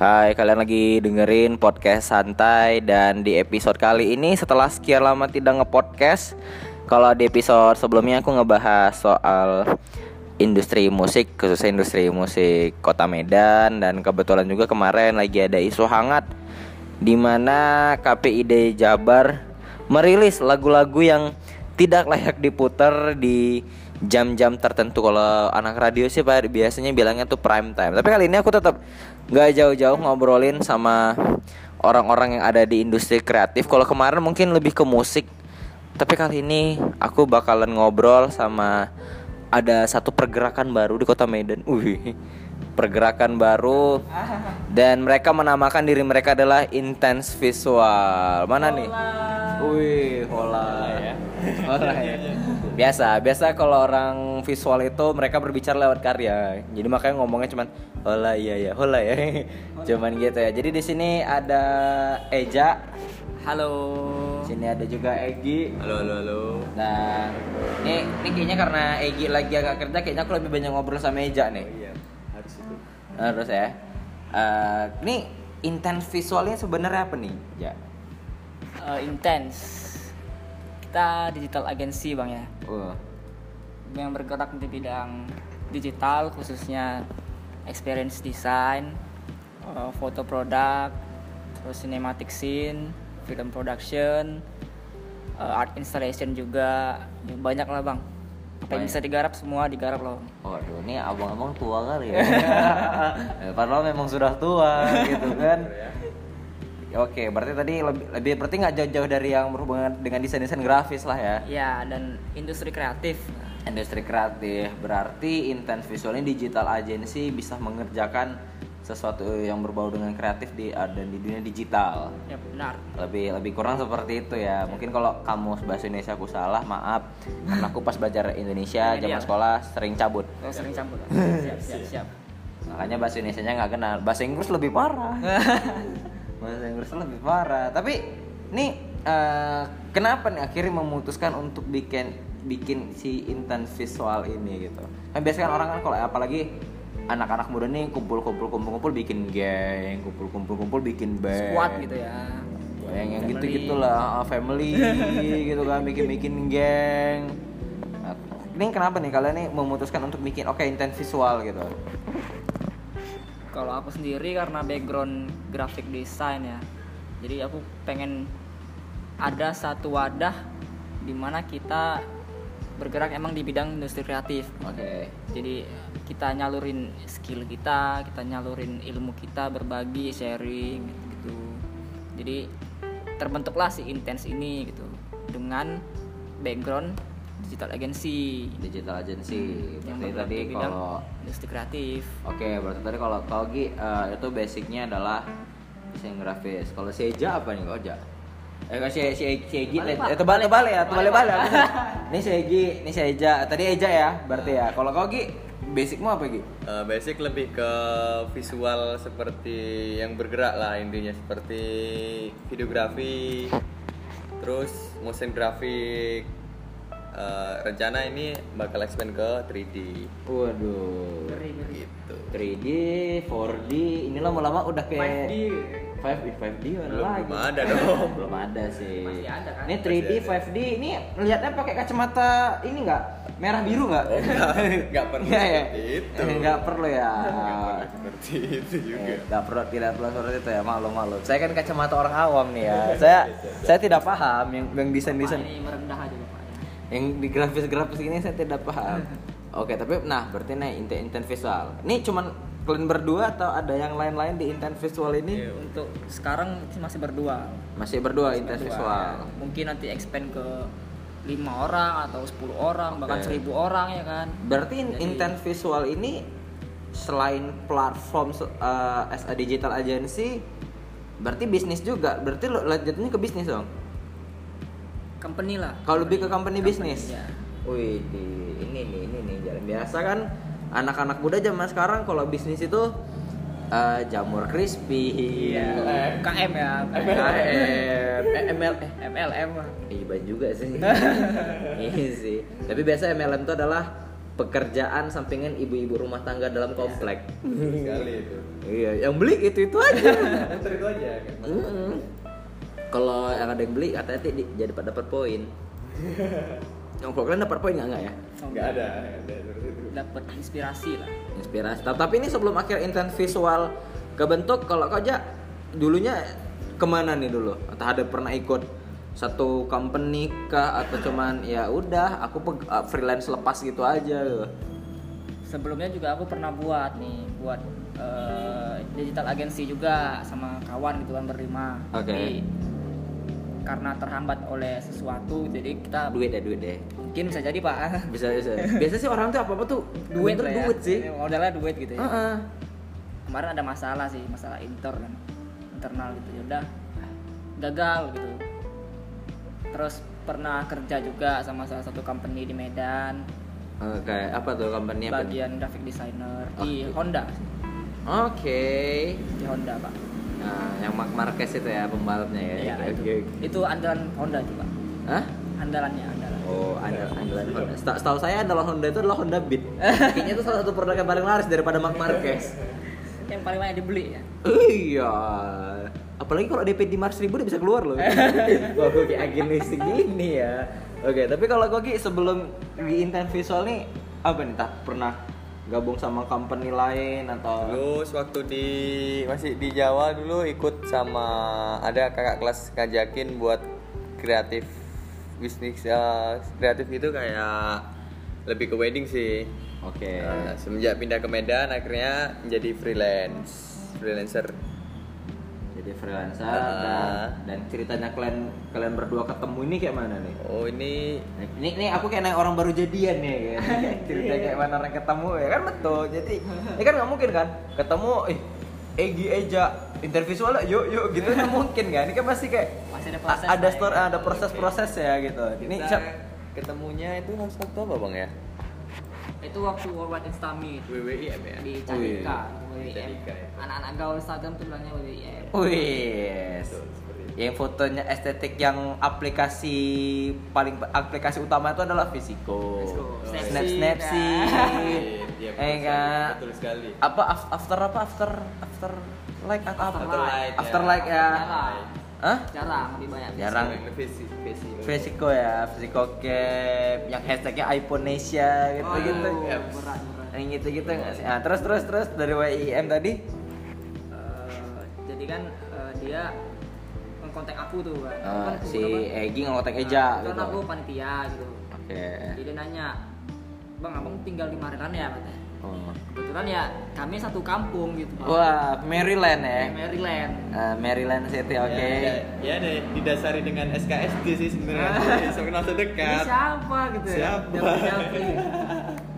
Hai, kalian lagi dengerin podcast santai dan di episode kali ini setelah sekian lama tidak nge-podcast, kalau di episode sebelumnya aku ngebahas soal industri musik, khususnya industri musik Kota Medan dan kebetulan juga kemarin lagi ada isu hangat di mana KPID Jabar merilis lagu-lagu yang tidak layak diputar di jam-jam tertentu kalau anak radio sih pak biasanya bilangnya tuh prime time tapi kali ini aku tetap nggak jauh-jauh ngobrolin sama orang-orang yang ada di industri kreatif kalau kemarin mungkin lebih ke musik tapi kali ini aku bakalan ngobrol sama ada satu pergerakan baru di kota Medan Wih, pergerakan baru dan mereka menamakan diri mereka adalah intense visual mana nih Wih, hola ya. Hola ya. Biasa, biasa kalau orang visual itu mereka berbicara lewat karya. Jadi makanya ngomongnya cuman hola iya ya, hola ya. Cuman gitu ya. Jadi di sini ada Eja, Halo. sini ada juga Egi. Halo, halo, halo. Dan ini, ini kayaknya karena Egi lagi agak kerja, kayaknya aku lebih banyak ngobrol sama Eja nih. Iya, harus itu. Terus ya. Eh, ini intent visualnya sebenarnya apa nih? Ya. intense. Eh, Kita digital agency bang ya, Uh. yang bergerak di bidang digital khususnya experience design, eh, foto produk, terus cinematic scene, film production, eh, art installation juga banyak lah bang. Apa yang Banyak. bisa digarap semua digarap loh. Waduh, Oh, ini abang-abang tua kali ya. Eh, Padahal memang sudah tua gitu kan. Oke, berarti tadi lebih, lebih berarti nggak jauh-jauh dari yang berhubungan dengan desain-desain grafis lah ya. Ya dan industri kreatif. Industri kreatif berarti intense visualnya digital agency bisa mengerjakan sesuatu yang berbau dengan kreatif di ah, dan di dunia digital. Ya benar. Lebih lebih kurang seperti itu ya. Mungkin kalau kamu bahasa Indonesia aku salah, maaf. Karena aku pas belajar Indonesia Ini dia. zaman sekolah sering cabut. Kalau sering campur. Siap, siap, siap. Makanya bahasa Indonesia nggak kenal. Bahasa Inggris lebih parah. bahasa Inggris lebih parah. Tapi nih eh, kenapa nih akhirnya memutuskan untuk bikin bikin si intan visual ini gitu? Kan biasanya kan orang kan kalau apalagi anak-anak muda nih kumpul-kumpul kumpul-kumpul bikin geng, kumpul-kumpul kumpul bikin band. Kuat gitu ya. Yang yang Family. gitu-gitu lah, ah, family gitu kan bikin-bikin geng. Nah, Ini kenapa nih kalian nih memutuskan untuk bikin oke intent visual gitu? Kalau aku sendiri karena background graphic design ya, jadi aku pengen ada satu wadah di mana kita bergerak emang di bidang industri kreatif. Oke. Jadi kita nyalurin skill kita, kita nyalurin ilmu kita, berbagi, sharing gitu. Jadi terbentuklah si intense ini gitu dengan background digital agency digital agency berarti Hmm, bergerak tadi di bidang kalau industri kreatif. oke berarti tadi kalau kalau Gi, eh, itu basicnya adalah desain grafis kalau si Eja apa nih kalau Eja eh kalau si si si Egi eh, Terbalik, Pak. tebal tebal ya tebal Terbalik, tebal ya Pak. ini si Egi ini si Eja tadi Eja ya berarti ya kalau kau Gi basicmu apa Gi Eh, basic lebih ke visual seperti yang bergerak lah intinya seperti videografi, terus motion grafik. Eh, rencana ini bakal expand ke 3D waduh gitu. 3D 4D ini lama-lama udah kayak 5D 5D mana Belum, lagi belum ada dong. belum ada sih Masih ada kan? ini 3D Masih 5D ini lihatnya pakai kacamata ini nggak merah biru nggak Oh, nggak. Nggak perlu Nggak gitu. ya? seperti itu. nggak perlu ya Seperti itu juga. Eh, nggak perlu tidak perlu seperti itu ya malu malu saya kan kacamata orang awam nih ya saya saya tidak paham yang yang desain Pak, desain ini merendah aja Pak. yang di grafis grafis ini saya tidak paham oke tapi nah berarti nih intent intent visual ini cuman kalian berdua atau ada yang lain lain di intent visual ini Untuk sekarang sih masih berdua. masih berdua Iya. Masih intent berdua. visual Mungkin nanti expand ke lima orang atau 10 orang bahkan Oke. 1000 orang ya kan. Berarti in- Jadi- intent visual ini selain platform se- uh, as a digital agency berarti bisnis juga. Berarti lo lanjutannya ke bisnis dong. Company lah. Kalau lebih ke company bisnis. ya. Wih, di- ini nih, ini nih jalan biasa kan anak-anak muda zaman sekarang kalau bisnis itu uh, jamur crispy. KM ya. KM, eh, ML eh, MLM. Iya juga sih. iya sih. Tapi biasa MLM itu adalah pekerjaan sampingan ibu-ibu rumah tangga dalam komplek. sekali itu Iya, yang beli itu itu aja. muter itu aja kan Mm-mm. Kalau yang ada yang beli hati-hati Di, jadi dapat dapat poin. Yang kalian dapat poin nggak nggak ya? nggak ada nggak ada seperti itu dapat inspirasi lah Inspirasi. Ta- Tapi ini sebelum akhir intent visual kebentuk, kalau kau aja dulunya kemana nih dulu? Atau ada pernah ikut satu company kah atau cuman ya udah aku peg- uh, freelance lepas gitu aja gitu. sebelumnya juga aku pernah buat nih buat eh, digital agency juga sama kawan gitu kan berlima Oke. Tapi karena terhambat oleh sesuatu jadi kita duit ya duit deh mungkin bisa jadi pak bisa bisa biasa sih orang tuh apa apa tuh duit bener lah ya. duit sih modalnya duit gitu ya Heeh. kemarin ada masalah sih masalah intern kan internal gitu ya udah gagal gitu terus pernah kerja juga sama salah satu company di Medan Eh, kayak apa tuh company apa nih? bagian graphic designer di Oke. Honda oke di Honda pak nah yang Mark Marquez itu ya pembalapnya ya Iya, Oke, itu. oke. itu andalan Honda tuh pak Hah? andalannya andalan Oh, andalan andalan Honda. Seta- Setahu saya andalan Honda itu adalah Honda Beat. Kayaknya itu salah satu produk yang paling laris daripada Mark Marquez. yang paling banyak dibeli ya iya. Apalagi kalau DP di Mars 1000 udah bisa keluar loh. Wah, gue kayak agen listing gini ya. Oke, tapi kalau Gogi sebelum di Intent Visual nih apa nih tak pernah gabung sama company lain atau Dulu waktu di masih di Jawa dulu ikut sama ada kakak kelas ngajakin buat kreatif bisnis eh, kreatif itu kayak lebih ke wedding sih. Oke. Eh, semenjak pindah ke Medan akhirnya menjadi freelance freelancer. Jadi freelancer Ah. dan, dan ceritanya kalian kalian berdua ketemu ini kayak mana nih? Oh ini Ini, ini aku kayak naik orang baru jadian nih ya. Kayak Cerita Iya. kayak mana orang ketemu ya kan betul. Jadi ini kan nggak mungkin kan ketemu eh Egi Eja interview soalnya yuk yuk gitu nggak mungkin kan. Ini kan pasti kayak Masih ada proses, a- ada Pak, store ya. ada proses-proses ya gitu. Ini kita siap ketemunya itu harus waktu apa bang ya? itu waktu Worldwide Dance Summit WWIM ya. di Candika Wih. WWIM Candika, ya. anak-anak gaul Instagram tuh bilangnya WWIM Wih. Yang fotonya estetik yang aplikasi paling aplikasi utama itu adalah Visiko. Fisiko. Snapseed. ya. Snap Snapseed. Iya, Eh enggak. Betul sekali. apa af- after apa after after like atau apa After like. after like ya jarang Hah? jarang lebih banyak Ya, Jarang. Visi, visi. Vesiko ya, Vesiko Cap, yang hashtagnya Iponesia Oh, gitu-gitu. iya, berat berat Yang gitu-gitu nggak sih? Nah, terus terus terus dari WIM tadi. Eh, jadi kan eh, dia mengkontak aku tuh kan Aku eh, kan si kebetulan- Egi ngotak Nah, Eja kebetulan gitu. aku panitia gitu Oke. jadi dia nanya bang abang tinggal di Marekan ya katanya Oh. kebetulan ya kami satu kampung gitu Pak. Wah, Maryland ya. Di Maryland Iya, Eh, Maryland City, oke. Ya, ya, ya, didasari dengan SKSD sih sebenarnya. Bisa kenal ini sedekat. siapa gitu Siapa? ya Japri-japri.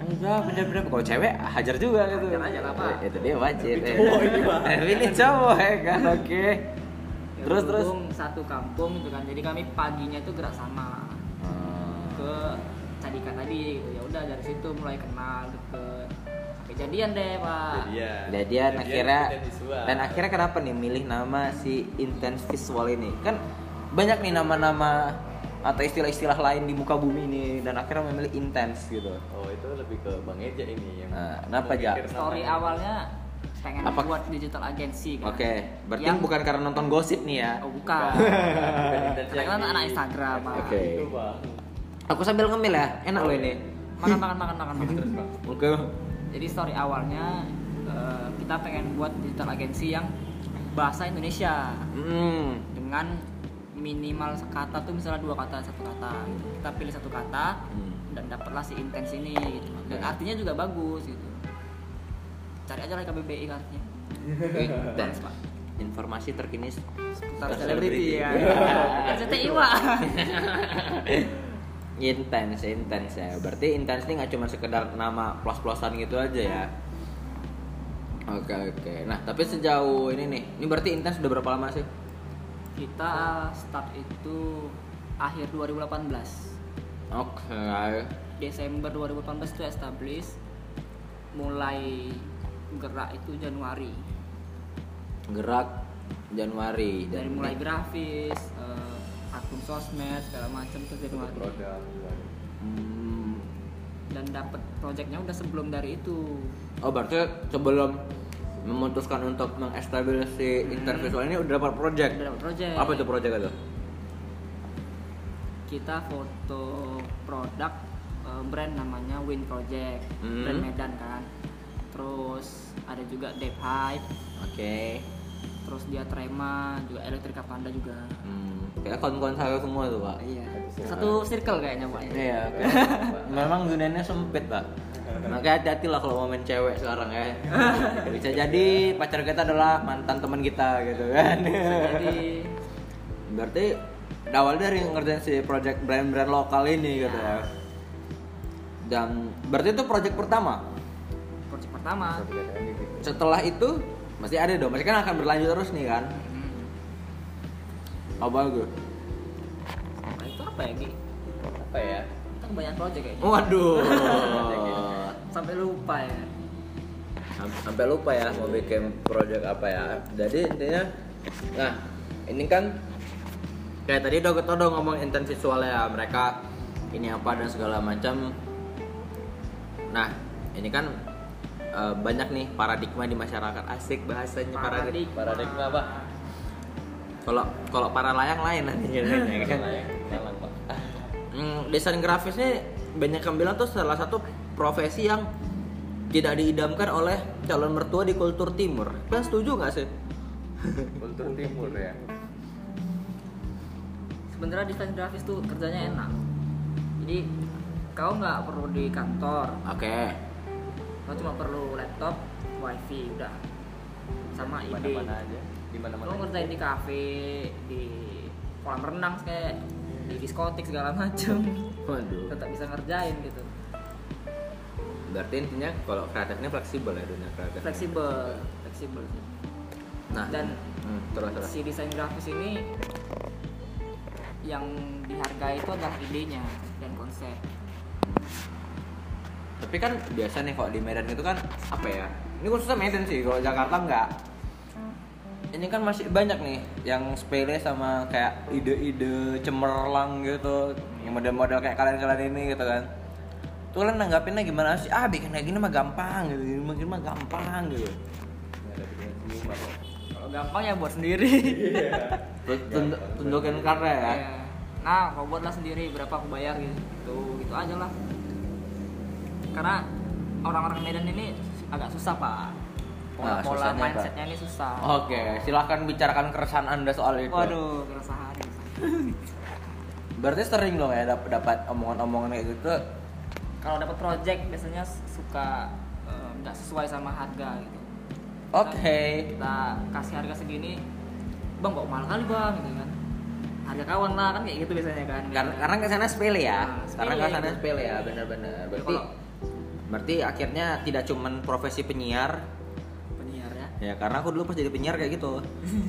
Enggak, bener-bener kalau cewek hajar juga gitu. Hajar aja lah, Pak. Eh, Itu dia wajib. Tapi cowok ini, Pak. Tapi ini cowok ya kan, oke. Ya, Terus terus. berhubung satu kampung gitu kan jadi kami paginya tuh gerak sama Ah. ke Cadika tadi gitu ya udah dari situ mulai kenal deket sampai jadian deh pak Jadian. Jadian akhirnya kita visual. dan akhirnya kenapa nih milih nama si intense visual ini? Kan banyak nih nama-nama atau istilah-istilah lain di muka bumi ini dan akhirnya memilih intense gitu. Oh itu lebih ke Bang Eja ini yang. Nah, kenapa, Ja? memikir story namanya. awalnya pengen Apa- buat digital agency Oke, kan berarti Yang- bukan karena nonton gosip nih ya. oh bukan Bukan intens karena kan yang anak di- Instagram pak Oke. Itu Bang. Aku sambil ngemil ya, enak loh ini. makan makan makan makan makan Terus Bang. Oke. jadi story awalnya eh, kita pengen buat digital agency yang bahasa Indonesia Hmm. dengan minimal kata tuh misalnya dua kata satu kata gitu. kita pilih satu kata Hmm. dan dapatlah si intens ini gitu. Oke. dan artinya juga bagus gitu cari aja lah KBBI kan artinya Dan Bagus, Pak. informasi terkini se- Seputar seputar selebriti ya iya. RCTI Pak intens intens ya berarti intens ini nggak cuma sekedar nama plus plusan gitu aja ya oke oke nah tapi sejauh ini nih ini berarti intens udah berapa lama sih kita start itu akhir 2018 oke Desember 2018 itu establish mulai gerak itu Januari gerak Januari dari dan mulai grafis eh, akun sosmed segala macam itu Januari Produk. Hmm, dan dapat projectnya udah sebelum dari itu Oh berarti sebelum memutuskan untuk mengestablisi intervisual ini udah dapat project. Hmm. udah dapat project Apa itu project itu? kita foto produk eh, brand namanya Win Project Hmm. brand Medan kan terus ada juga Deep Hype Oke. terus dia Trema juga Elektrika Panda juga Hmm. Kayak kawan-kawan saya semua tuh pak. iya satu circle kayaknya pak ya. Iya. kayak- Memang dunianya sempit pak. Makanya hati-hati lah kalau mau main cewek sekarang ya. Bisa jadi pacar kita adalah mantan teman kita gitu kan. jadi Berarti awal dari ngerjain si project brand-brand lokal ini gitu ya. Dan berarti itu project pertama. project pertama Setelah itu masih ada dong, masih kan akan berlanjut terus nih kan. Hmm. Apa gue? Nah, itu apa ya Ki? apa ya kita kebanyakan project kayaknya Waduh. Oh. Oh. sampai lupa ya Sam- sampai lupa ya mau bikin project apa ya jadi intinya nah ini kan Kayak tadi udah kita udah ngomong intent visual ya mereka ini apa dan segala macam. Nah, ini kan eh, banyak nih paradigma di masyarakat asik bahasanya paradigma. Paradigma. paradigma apa Kalau kalau para layang lain nanti iya. kira-kira, kan? Malang, Pak. Hmm, desain grafisnya banyak yang bilang tuh salah satu profesi yang tidak diidamkan oleh calon mertua di kultur timur. Kalian setuju nggak sih? kultur timur ya sebenarnya desain grafis tuh kerjanya enak jadi kau nggak perlu di kantor Oke. kau cuma perlu laptop wifi udah sama di ide mana aja di mana kau mana ngerjain di kafe di kolam renang kayak di diskotik segala macem Waduh. tetap bisa ngerjain gitu Berarti intinya kalau kreatifnya fleksibel ya dunia kreatif. fleksibel fleksibel sih. Nah, Dan- hmm, terus terus. si desain grafis ini yang dihargai itu adalah idenya dan konsep Tapi kan biasa nih kalau di Medan itu kan apa ya? Ini khususnya Medan sih, kalau Jakarta enggak. Ini kan masih banyak nih yang sepele sama kayak ide-ide cemerlang gitu, yang model-model kayak kalian-kalian ini gitu kan. Tuh kalian nanggapinnya gimana sih? Ah, bikin kayak gini mah gampang gitu, gini mah, gini mah gampang gitu. kalau gampang ya buat sendiri Tun- tun- Tunjukin karya ya. Iya. nah kau buatlah sendiri berapa aku bayar gitu gitu aja lah karena orang-orang Medan ini agak susah pak pola, Nah, Ah, pola susahnya, Pak. Oh, mindsetnya ini susah Oke, silahkan bicarakan keresahan anda soal itu. waduh keresahan Berarti sering dong ya dap- dapat omongan-omongan kayak gitu. kalau dapat project biasanya suka eh, nggak sesuai sama harga gitu Oke. kita kasih harga segini bang kok mahal kali bang gitu kan harga kawan lah kan kayak gitu biasanya kan Karena karena kesana sepele ya. Nah, sepele. Karena kesana sepele ya, benar-benar. Berarti Kalau- berarti akhirnya tidak cuman profesi penyiar. penyiar ya Ya karena aku dulu pas jadi penyiar kayak gitu.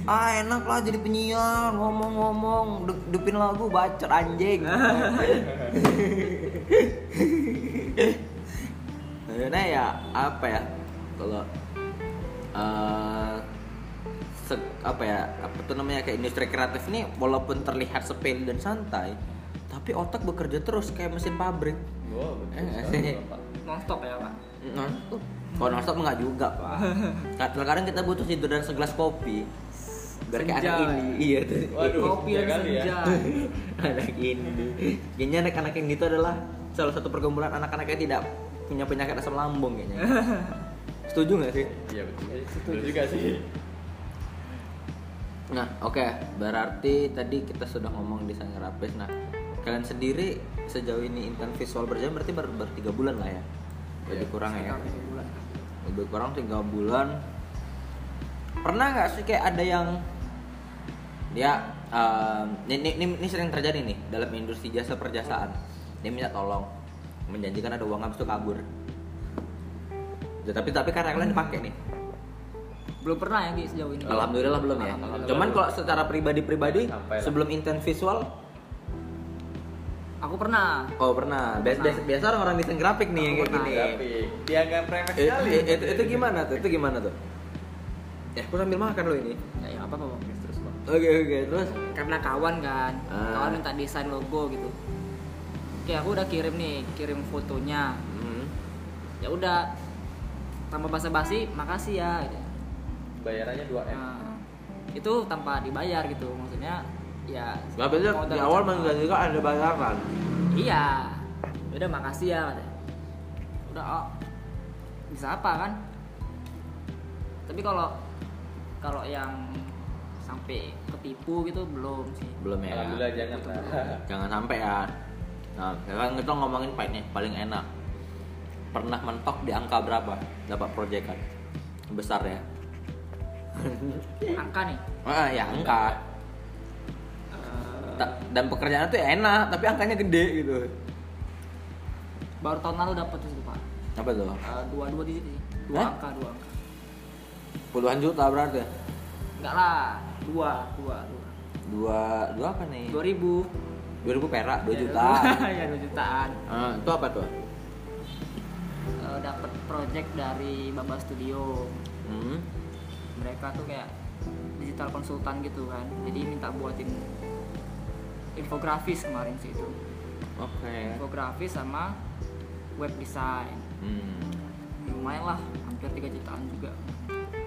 ah enak lah jadi penyiar, ngomong-ngomong, de- depin lagu, bacot anjing. Nah ya apa ya kalau eh, se- apa ya apa tuh namanya kayak industri kreatif ini walaupun terlihat sepele dan santai tapi otak bekerja terus kayak mesin pabrik Wow, Oh, betul Eh, sekali, sih. Bapak. nonstop ya pak Nah, tuh. kalau nonstop nggak juga pak kadang-kadang kita butuh tidur dan segelas kopi biar kayak anak Senja. ini iya tuh Waduh, kopi tiga lagi kali ya. senja anak ini kayaknya anak-anak yang gitu adalah salah satu pergumulan anak-anak yang tidak punya penyakit asam lambung kayaknya setuju nggak sih iya betul betul juga sih nah oke berarti tadi kita sudah ngomong desain grafis nah kalian sendiri sejauh ini intern visual berjalan berarti baru baru tiga bulan lah ya lebih kurang ya Sekitar sebulan. lebih kurang tiga bulan pernah nggak sih kayak ada yang dia um, ini, ini- ini, ini sering terjadi nih dalam industri jasa perjasaan dia minta tolong menjanjikan ada uang habis itu kabur Ya, tapi tapi karena kalian dipakai nih belum pernah ya Ki, sejauh ini alhamdulillah belum ya Alhamdulillah cuman belum. kalau secara pribadi pribadi Sampai lah. sebelum intent visual aku pernah oh pernah biasa biasa, biasa orang desain grafik nih yang kayak Pernah. gini tapi dia nggak premes Eh, sekali eh, itu, itu gimana tuh itu gimana tuh ya aku sambil makan loh ini ya, ya apa apa Bang. terus Pak. Oke oke terus karena kawan kan Ah. kawan minta desain logo gitu oke aku udah kirim nih kirim fotonya Ya udah tanpa basa-basi makasih ya gitu. bayarannya 2 m Nah, itu tanpa dibayar gitu maksudnya ya Gak berarti di modal awal cepat. menggantikan ada bayaran. iya udah makasih ya katanya. udah oh, bisa apa kan tapi kalau kalau yang sampai ketipu gitu belum sih Belum ya. alhamdulillah jangan lah Jangan sampai ya. Nah, sekarang kita ngomongin pahitnya paling enak. Pernah mentok di angka berapa dapat proyekan? Besar ya. angka nih Ah, ya angka. Ta- Dan pekerjaan tuh enak, tapi angkanya gede gitu. baru tahun lalu dapat itu pak Apa tuh? Eh, dua dua digit sih dua Hah? angka dua angka Puluhan juta berarti. ya? enggak lah dua dua dua Dua, dua apa nih? dua ribu Dua ribu perak, Eh. dua Ya, juta. ya dua jutaan Ah, itu apa tuh? Eh, dapat project dari Baba Studio Hmm. mereka tuh kayak digital konsultan gitu kan jadi minta buatin infografis kemarin sih itu Oke. infografis sama web design Hmm. lumayan lah hampir 3 jutaan juga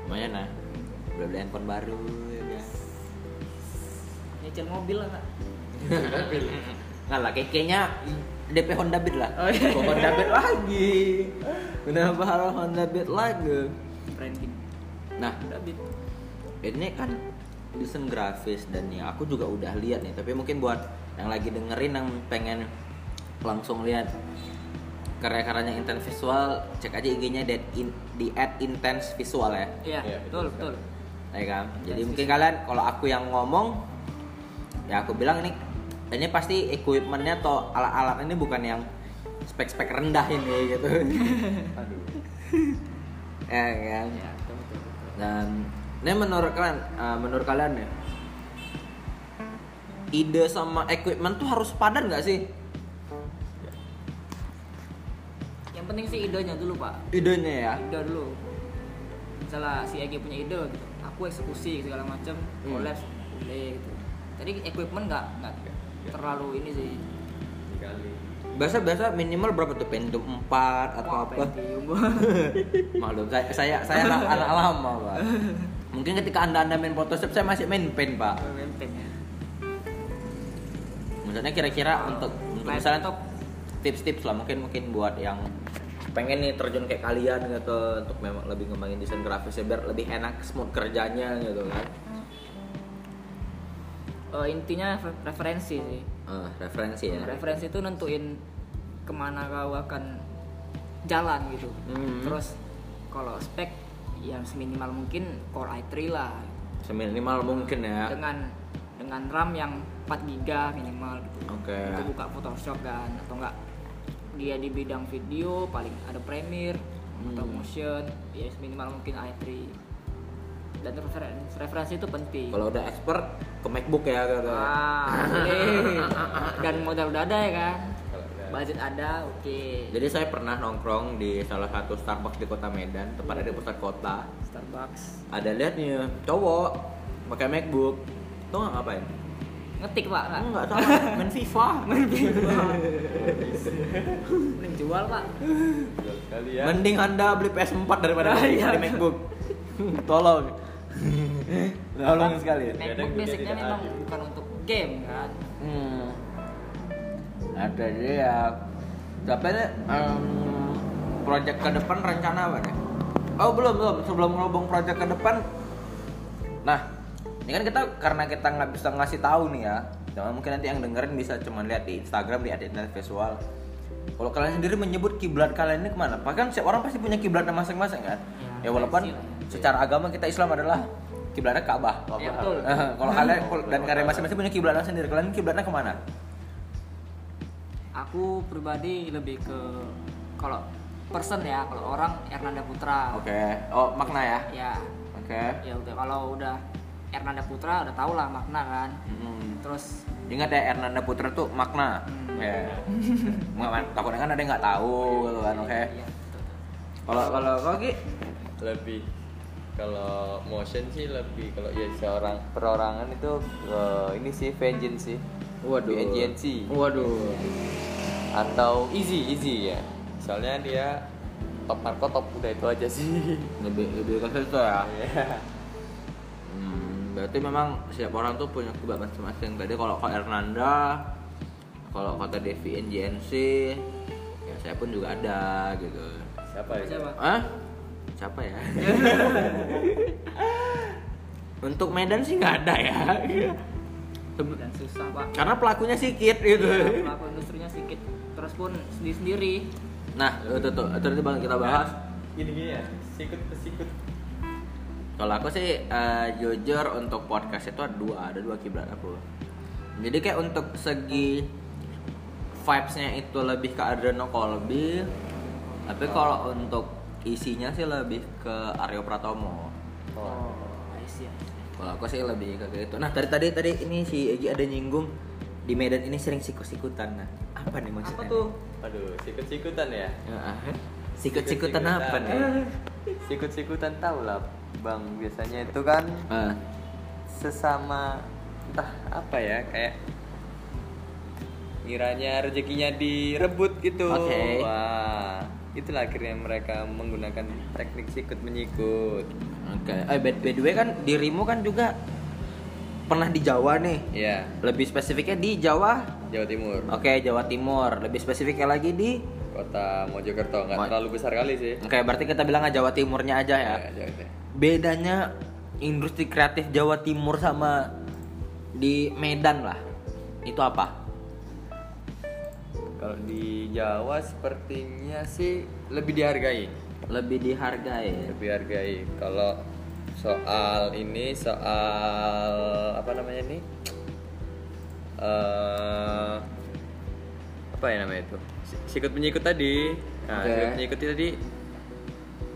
Lumayan lah. Udah beli handphone baru ya kan. nyicil mobil lah kak Nggak lah, kayak- kayaknya DP Honda Beat lah. Oh, iya. Kok Honda Beat lagi. Kenapa harus Honda Beat lagi? branding Nah, udah bit ini kan desain grafis dan nih aku juga udah lihat nih, tapi mungkin buat yang lagi dengerin yang pengen langsung lihat karya-karyanya intense visual, cek aja IG-nya dan in- di at intense visual ya. iya Iya, betul betul betul Ya kan? Jadi mungkin kalian kalau aku yang ngomong ya aku bilang ini ini pasti equipmentnya atau alat-alat ini bukan yang spek-spek rendah ini gitu. aduh ya kan? iya betul betul, betul. Dan ini menurut kalian eh, menurut kalian ya ide sama equipment tuh harus padan nggak sih yang penting sih idenya dulu pak idenya ya? ide dulu misalnya si Egi punya ide gitu aku eksekusi segala macam Hmm. Iya. collab boleh gitu tadi equipment nggak nggak terlalu ini sih kali Biasa biasa minimal berapa tuh Pentium 4 atau Wah, apa? Pentium. Maklum saya saya saya anak, anak lama, Pak. Mungkin ketika Anda-anda main Photoshop saya masih main pen, Pak. Pentium ya. Maksudnya kira-kira untuk untuk Laptop. misalnya untuk tips-tips lah mungkin mungkin buat yang pengen nih terjun kayak kalian gitu untuk memang lebih ngembangin desain grafisnya biar lebih enak smooth kerjanya gitu kan. Eh, intinya refer- referensi sih Eh, referensi ya. referensi itu nentuin kemana kau akan jalan gitu Hmm. terus kalau spek yang seminimal mungkin core i3 lah Seminimal mungkin ya. dengan dengan RAM yang 4 giga minimal gitu Oke. itu buka Photoshop kan atau enggak dia di bidang video paling ada Premiere atau Hmm. motion ya minimal mungkin i3 dan referen- referensi itu penting Kalau udah expert ke MacBook ya gitu. Wah, boleh. dan modal udah ada ya kan Kalau udah. budget ada oke Jadi saya pernah nongkrong di salah satu Starbucks di kota Medan, tepatnya di pusat kota. Starbucks Ada liatnya cowok pakai MacBook. Tuh nggak ngapain? ngetik pak nggak Enggak tahu Ah. main FIFA. Ah. Main FIFA. mending jual pak jual sekali ya Mending Anda beli PS4 daripada beli Iya. beli MacBook. Tolong. Eh, Tolong sekali. MacBook Kadang dunia basicnya tidak memang adil. bukan untuk game kan Hmm. Ada dia ya. Tapi em project ke depan rencana apa nih? Oh belum belum sebelum ngomong project ke depan. Nah, ini kan kita karena kita nggak bisa ngasih tahu nih ya. Cuma mungkin nanti yang dengerin bisa cuma lihat di Instagram di Internet Visual. Kalau kalian sendiri menyebut kiblat kalian ini kemana? Bahkan setiap orang pasti punya kiblatnya masing-masing kan. Ya, Ya, walaupun versi lah ya. secara agama kita Islam adalah kiblatnya Ka'bah. ya betul Eh, kalau kalian kal- dan kalian masing-masing punya kiblatnya sendiri, kalian kiblatnya kemana? aku pribadi lebih ke kalau person ya kalau orang Ernanda Putra Oke. Oh makna ya. ya Oke. ya udah kalau udah Ernanda Putra udah tau lah makna kan Mm-mm. terus Hmm. Ingat ya Ernanda Putra tuh makna. Hmm. Oke. Nggak, man, Takutnya kan ada yang nggak tahu gitu kan. Oke. ya, betul. Kalau kalau kau Ki? lebih kalau motion sih lebih kalau ya seorang perorangan itu ke ini sih vengeance sih Lebih agency Waduh. atau easy easy ya soalnya dia top Marco top udah itu aja sih lebih lebih ke situ ya Iya. Hmm, berarti memang setiap orang tuh punya kubah masing-masing. Tadi kalau kok Hernanda, kalau kota Devi NJNC, ya saya pun juga ada gitu. siapa ya Siapa? Hah? Siapa ya? Untuk Medan sih nggak ada ya. Sebe- dan susah pak Iya, Karena pelakunya sedikit gitu. pelaku industrinya sedikit terus pun sendiri sendiri Nah, itu tuh, itu nanti bakal kita bahas. gini gini ya sikut pesikut Kalau aku sih eh, jujur untuk podcast itu ada dua, ada dua kiblat aku. Jadi kayak untuk segi vibes-nya itu lebih ke Adreno Colby, tapi kalau untuk isinya sih lebih ke Aryo Pratomo. oh. Aisyah Kalau aku sih lebih ke kayak gitu. Nah tadi tadi tadi ini si Egi ada nyinggung di Medan ini sering sikut-sikutan. Nah, apa nih maksudnya? apa tuh aduh sikut sikutan ya Ya, ah. sikut-sikutan apa nih? sikut sikutan tau lah bang biasanya itu kan Ah, sesama entah apa ya kayak kiranya rezekinya direbut gitu Oke. wah itulah akhirnya mereka menggunakan teknik sikut menyikut Oke. Eh, by, by the way kan dirimu kan juga pernah di Jawa nih. ya Lebih spesifiknya di Jawa. Jawa Timur Oke, Jawa Timur. Lebih spesifiknya lagi di kota Mojokerto nggak Mo- terlalu besar kali sih Oke, berarti kita bilang aja Jawa Timurnya aja ya. Ya, Jawa Timur. Bedanya industri kreatif Jawa Timur sama di Medan lah. Itu apa? kalau di Jawa sepertinya sih lebih dihargai Lebih dihargai. lebih hargai kalau soal ini soal apa namanya nih eh apa ya namanya itu Si- sikut menyikut tadi nah, Oke. sikut menyikut itu tadi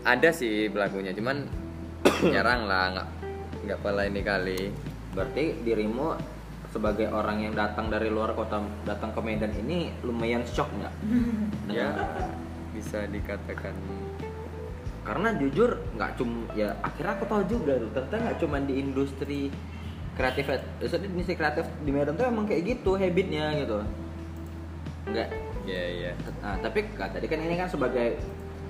ada sih pelakunya cuman jarang lah nggak nggak pala ini kali Berarti dirimu sebagai orang yang datang dari luar kota datang ke Medan ini lumayan shock nggak? ya Dengan- bisa dikatakan karena jujur nggak cum ya akhirnya aku tahu juga tuh ternyata nggak cuma di industri kreatif maksudnya di industri kreatif di Medan tuh emang kayak gitu habitnya gitu nggak ya ya nah, tapi nah, tadi kan ini kan sebagai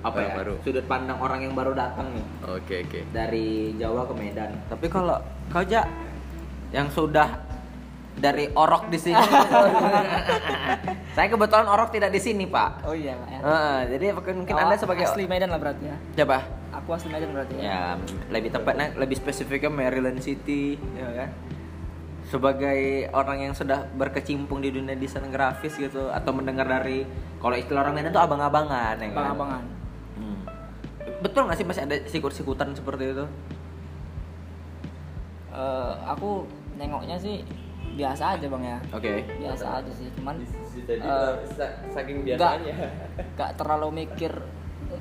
apa Orang ya baru. sudut pandang orang yang baru datang nih oke oke dari Jawa ke Medan tapi kalau kau ja yang sudah dari orok di sini saya kebetulan orok tidak di sini pak Oh, oh iya pak ya. Heeh, jadi mungkin anda sebagai asli Medan lah berarti ya coba aku asli Medan berarti ya, ya lebih tepatnya lebih spesifiknya Maryland City ya kan sebagai orang yang sudah berkecimpung di dunia desain grafis gitu atau mendengar dari kalau istilah orang Medan itu abang-abangan ya kan? abang-abangan Hmm. betul nggak sih masih ada sikut-sikutan seperti itu Eh, aku nengoknya sih biasa aja bang ya oke biasa aja sih cuman jadi eh, saking nggak nggak terlalu mikir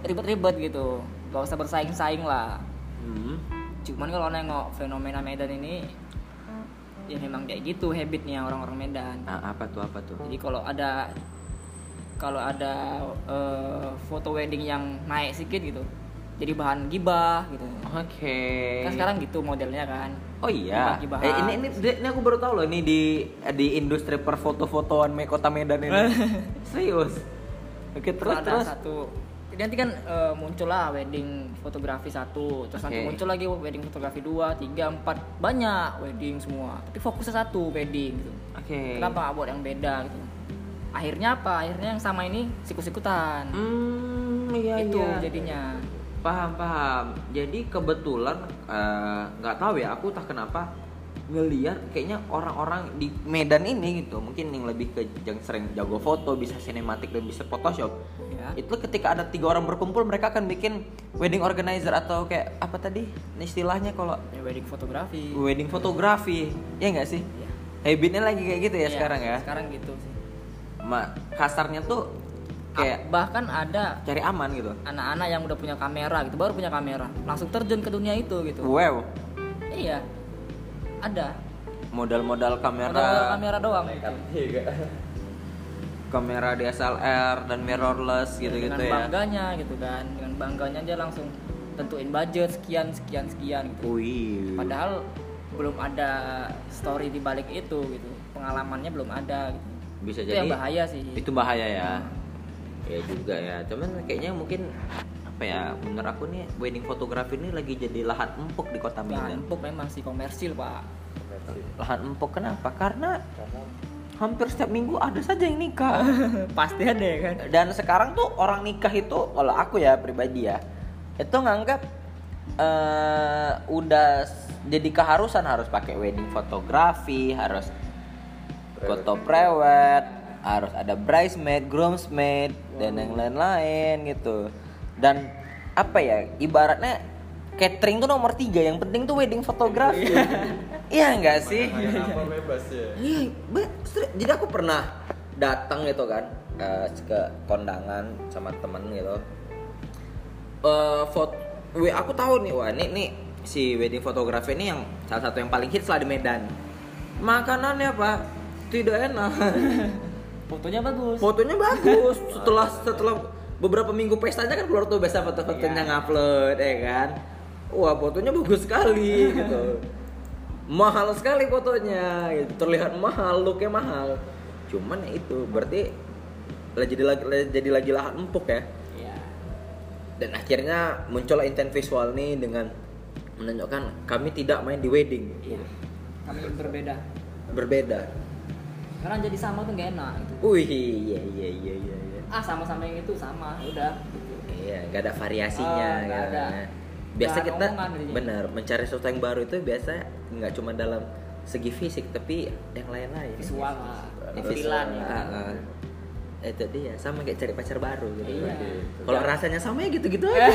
ribet-ribet gitu gak usah bersaing-saing lah Hmm. cuman kalau nengok fenomena Medan ini ya memang kayak gitu habitnya orang-orang Medan Nah, apa tuh apa tuh jadi kalau ada kalau ada eh, foto wedding yang naik sedikit gitu jadi bahan gibah gitu oke kan sekarang gitu modelnya kan Oh iya. Dibagi-bahas. Eh, ini, ini ini aku baru tahu loh ini di di industri perfoto-fotoan me- kota Medan ini. Serius. Oke, terus Kalau ada terus. satu nanti kan eh, muncul lah wedding fotografi satu terus nanti Oke. muncul lagi wedding fotografi dua tiga empat banyak wedding semua tapi fokusnya satu wedding gitu Oke. kenapa nggak buat yang beda gitu akhirnya apa akhirnya yang sama ini sikut-sikutan Hmm, iya itu iya. jadinya paham paham. Jadi kebetulan eh, nggak tahu ya aku tak kenapa ngelihat kayaknya orang-orang di Medan ini gitu mungkin yang lebih ke yang sering jago foto bisa sinematik dan bisa Photoshop ya itu ketika ada tiga orang berkumpul mereka akan bikin wedding organizer atau kayak apa tadi istilahnya kalau Ya, wedding fotografi wedding fotografi ya nggak sih Iya. habitnya lagi kayak gitu ya, sekarang ya sekarang gitu sih Ma, kasarnya tuh kayak Ah, bahkan ada cari aman gitu anak-anak yang udah punya kamera gitu baru punya kamera langsung terjun ke dunia itu gitu wow iya ada modal-modal Modal kamera kamera doang gitu. juga kamera DSLR dan mirrorless dengan gitu-gitu ya bangganya gitu kan dengan bangganya dia langsung tentuin budget sekian sekian sekian gitu wih padahal belum ada story di balik itu gitu pengalamannya belum ada gitu bisa itu jadi yang bahaya sih Iya itu bahaya ya ya juga ya cuman kayaknya mungkin apa apa ya menurut aku nih wedding fotografi ini lagi jadi lahan empuk di kota Bahan Medan empuk memang sih komersil pak lahan empuk kenapa karena hampir setiap minggu ada saja yang nikah pasti ada ya kan dan sekarang tuh orang nikah itu kalau aku ya pribadi ya itu nganggap eh udah s- jadi keharusan harus pakai wedding fotografi harus foto prewed harus ada bridesmaid groomsmaid dan yang lain-lain gitu dan apa ya ibaratnya catering tuh nomor tiga yang penting tuh wedding fotografi iya enggak sih Kenapa bebas ya? Iya, be- seri- jadi aku pernah datang gitu kan eh, ke kondangan sama temen gitu. Eh foto, aku tahu nih wah ini nih si wedding photographer ini yang salah satu yang paling hits lah di Medan. Makanannya apa? Tidak enak. fotonya bagus Fotonya bagus. Setelah setelah beberapa minggu pestanya kan keluar tuh biasa foto-fotonya ngupload ya kan. Wah, fotonya bagus sekali gitu mahal sekali fotonya gitu. terlihat mahal looknya mahal cuman ya itu berarti lah jadi lagi lah jadi lagi lahan empuk ya Iya. dan akhirnya muncullah intent visual nih dengan menunjukkan kami tidak main di wedding Iya. kami berbeda berbeda karena jadi sama tuh gak enak gitu. wih iya iya iya iya iya. ah sama sama yang itu sama udah gitu. iya nggak ada variasinya Ah, nggak gitu. ada. biasa Nggak ada kita omongan jadinya. benar mencari sesuatu yang baru itu biasa nggak cuma dalam segi fisik tapi yang lain-lain Iya, visual lah Visual, tampilan ya kan ah, ah. itu dia sama kayak cari pacar baru gitu Iya. kalau rasanya sama ya gitu-gitu aja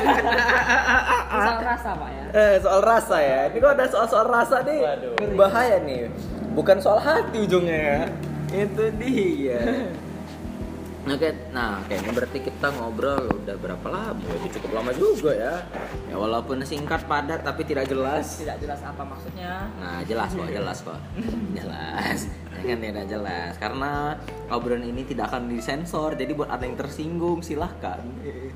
Asal rasa pak ya eh, soal rasa ya ini kok ada soal-soal rasa nih Waduh. bahaya nih bukan soal hati ujungnya ya itu dia Oke, nah kayaknya berarti kita ngobrol udah berapa lama? Itu cukup lama juga ya. Ya walaupun singkat padat tapi tidak jelas. tidak jelas apa maksudnya Nah jelas kok, jelas kok, jelas. Ya kan tidak jelas karena obrolan ini tidak akan disensor, jadi buat ada yang tersinggung silahkan. Iya.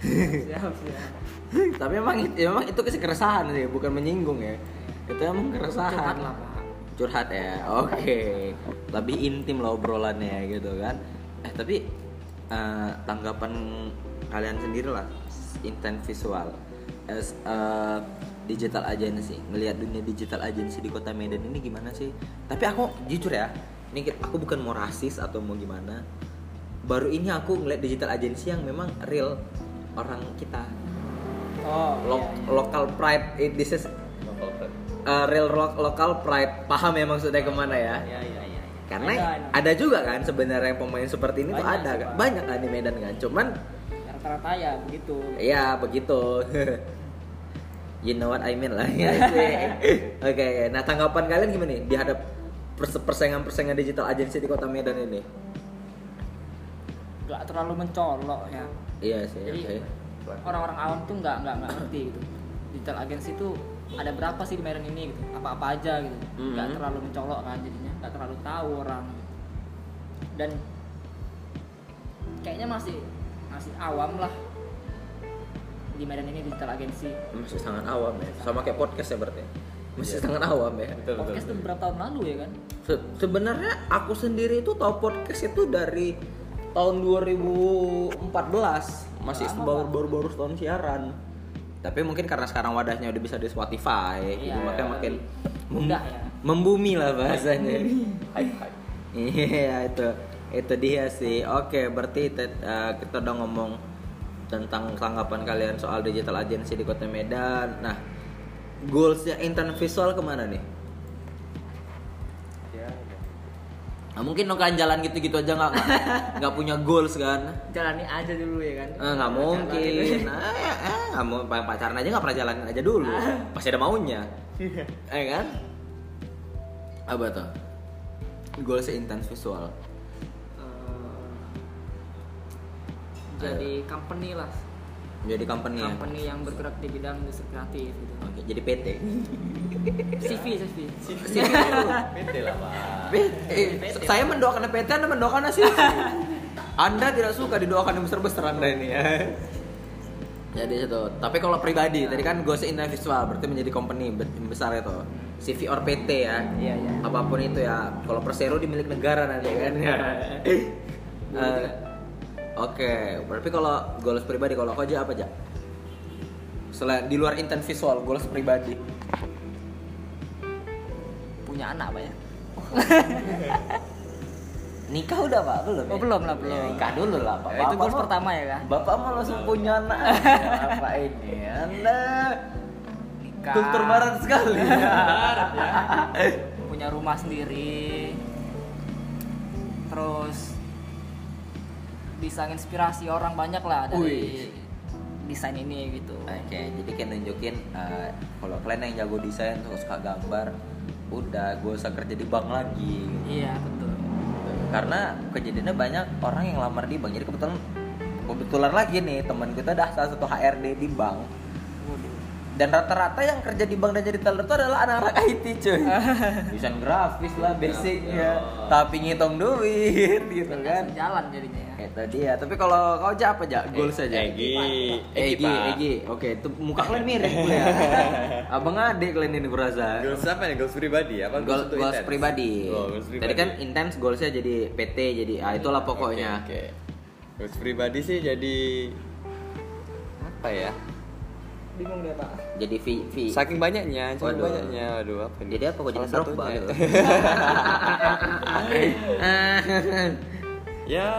siap siap Tapi emang itu, emang itu sih keresahan sih, bukan menyinggung ya. Itu emang keresahan. Curhat lah, Pak. Curhat ya, oke. Lebih intim lah obrolannya gitu kan. Eh tapi eh, tanggapan kalian sendiri lah, intent visual. As, eh, digital agency melihat dunia digital agency di kota Medan ini gimana sih tapi aku jujur ya ini ki- aku bukan mau rasis atau mau gimana baru ini aku ngeliat digital agency yang memang real orang kita oh lo- local pride it, this is uh, real lo- local pride paham ya maksudnya kemana ya iya iya iya iya. karena Ada, ada, juga kan sebenarnya yang pemain seperti ini tuh Banyak ada sih, kan? Pak. banyak kan di Medan kan cuman ada. rata-rata ya begitu ya begitu you know what I mean lah Iya ya sih. oke oke. nah tanggapan kalian gimana nih dihadap perse- persaingan-persaingan digital agency di kota Medan ini nggak terlalu mencolok ya iya sih oke Jadi, orang-orang awam tuh nggak nggak nggak ngerti gitu digital agency itu ada berapa sih di Medan ini gitu apa-apa aja gitu nggak Mhm. terlalu mencolok kan jadinya nggak terlalu tahu orang gitu. dan kayaknya masih masih awam lah di Medan ini digital agency masih sangat awam ya sama kayak podcast ya berarti masih Iya. sangat awam ya Betul betul. podcast tuh berapa tahun lalu ya kan Se- sebenarnya aku sendiri itu tahu podcast itu dari tahun 2014 masih Lama, baru baru baru setahun siaran tapi mungkin karena sekarang wadahnya udah bisa di Spotify jadi Iya, makanya makin mem- mudah ya. membumi lah bahasanya Hai hai. iya itu itu dia sih oke berarti te- eh, kita udah ngomong tentang tanggapan kalian soal digital agency di kota Medan nah goalsnya intern visual kemana nih Ya, ya. Nah, mungkin nukan jalan gitu-gitu aja nggak nggak- nggak punya goals kan? jalani aja dulu ya kan Eh, Nggak gitu ya. mungkin. Eh, eh, nggak mau pa- pacaran aja nggak pernah jalanin aja dulu. Pasti ada maunya. Eh kan? Apa tuh? Goals intens visual. Eh, jadi company lah Jadi company. ya? company yang bergerak di bidang industri kreatif gitu. Oke, jadi PT. CV CV CV dulu. PT lah pak. PT. eh, Saya mendoakan PT, Anda mendoakan sih. Anda tidak suka didoakan yang besar-besar Anda ini ya. Jadi itu. Tapi kalau pribadi, Iya. tadi kan goals in visual berarti menjadi company be- besar itu. CV or PT ya. Iya, iya. Apapun itu ya. Kalau Persero di milik negara nanti kan. Eh, Oke, berarti kalau goals pribadi kalau kau aja apa aja? selain di luar intent visual goals pribadi punya anak pak ya nikah udah pak belum Oh, ya? belum lah, belum. Ya, nikah dulu lah pak Ya, itu goals mah- pertama ya, kan? bapak mau langsung punya anak Ya, apa ini anda nikah kultur barat sekali Barat ya. punya rumah sendiri terus bisa inspirasi orang banyak lah dari Wih. desain ini gitu Oke, jadi kayak nunjukin eh, kalau kalian yang jago desain terus suka gambar, udah gue usah kerja di bank lagi. gitu. iya betul Karena kejadiannya banyak orang yang lamar di bank. Jadi kebetulan kebetulan lagi nih teman kita dah salah satu HRD di bank. Waduh. Dan rata-rata yang kerja di bank dan jadi teller itu adalah anak-anak IT cuy. Desain grafis lah basicnya, tapi ngitung duit gitu kan. Langsung jalan jadinya ya Itu dia. Tapi kalau kau aja apa aja? Goals aja. Egi, Egi, Egi. Oke, itu muka kalian mirip gue ya. Abang adik kalian ini berasa. Goals apa nih? Goals pribadi ya? apa? Goals, untuk goals intense? pribadi. Oh, goals Tadi pribadi. kan intense goalsnya jadi PT jadi ah itulah pokoknya. Oke, oke. Goals pribadi sih jadi apa ya? bingung deh pak Jadi V V. Saking banyaknya, saking Waduh. banyaknya. Aduh, apa nih? Jadi apa kok jadi Salah Drogba satunya. gitu? ya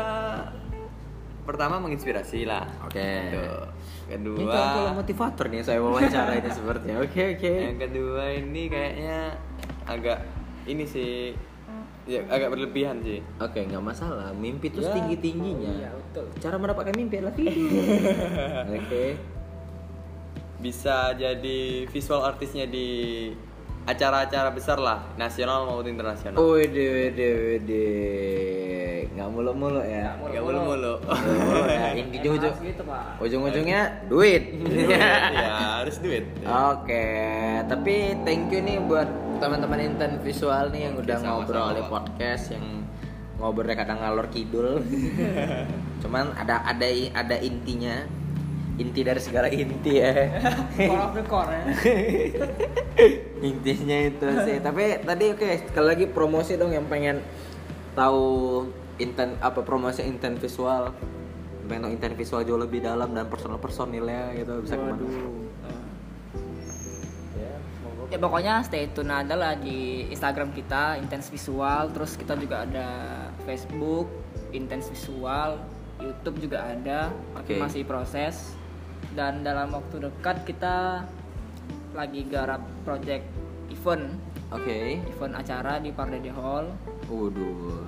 pertama menginspirasi lah. Oke. Gitu. Eh. Ini Kedua kalau motivator nih saya wawancara ini sepertinya. Oke oke. Yang kedua ini kayaknya agak ini sih ya, agak berlebihan sih. Oke nggak masalah. Mimpi tuh Ya. tinggi tingginya. Iya, betul. Cara mendapatkan mimpi adalah tidur. oke. Bisa jadi visual artisnya di acara-acara besar lah, nasional maupun internasional. Wede wede wede. Nggak muluk-muluk ya. Gak boleh mulu. Oh, ya, ini Emang ujung-ujung harus gitu pak ujung-ujungnya duit. ya harus duit. Oke, tapi thank you nih buat teman-teman intern visual nih yang Oke, udah sama-sama, ngobrol di Pak. podcast yang ngobrolnya kadang ngalor kidul. Cuman ada ada ada intinya. Inti dari segala inti ya. core of the core ya Intinya itu sih. Tapi tadi oke, sekali lagi promosi dong yang pengen tahu intern apa promosi intern visual. Pengen tahu intern visual jauh lebih dalam dan personal personilnya gitu bisa kemana. ya pokoknya stay tune aja lah di Instagram kita Intense Visual terus kita juga ada Facebook Intense Visual YouTube juga ada tapi Oke. masih proses dan dalam waktu dekat kita lagi garap project event Oke. event acara di Pardede Hall Waduh. Eh,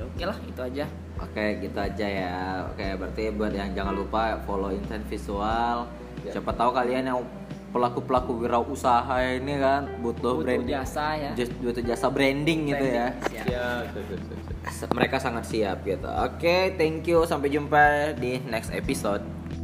ya oke lah itu aja Oke, gitu aja ya. Oke, berarti buat yang jangan lupa follow Intent Visual. Ya. Siapa tahu kalian yang pelaku-pelaku wirausaha ini kan butuh, butuh branding. jasa ya Just- butuh jasa branding gitu ya. Branding, siap. Ya, siap, siap, siap, siap. Mereka sangat siap gitu. Oke, thank you. Sampai jumpa di next episode.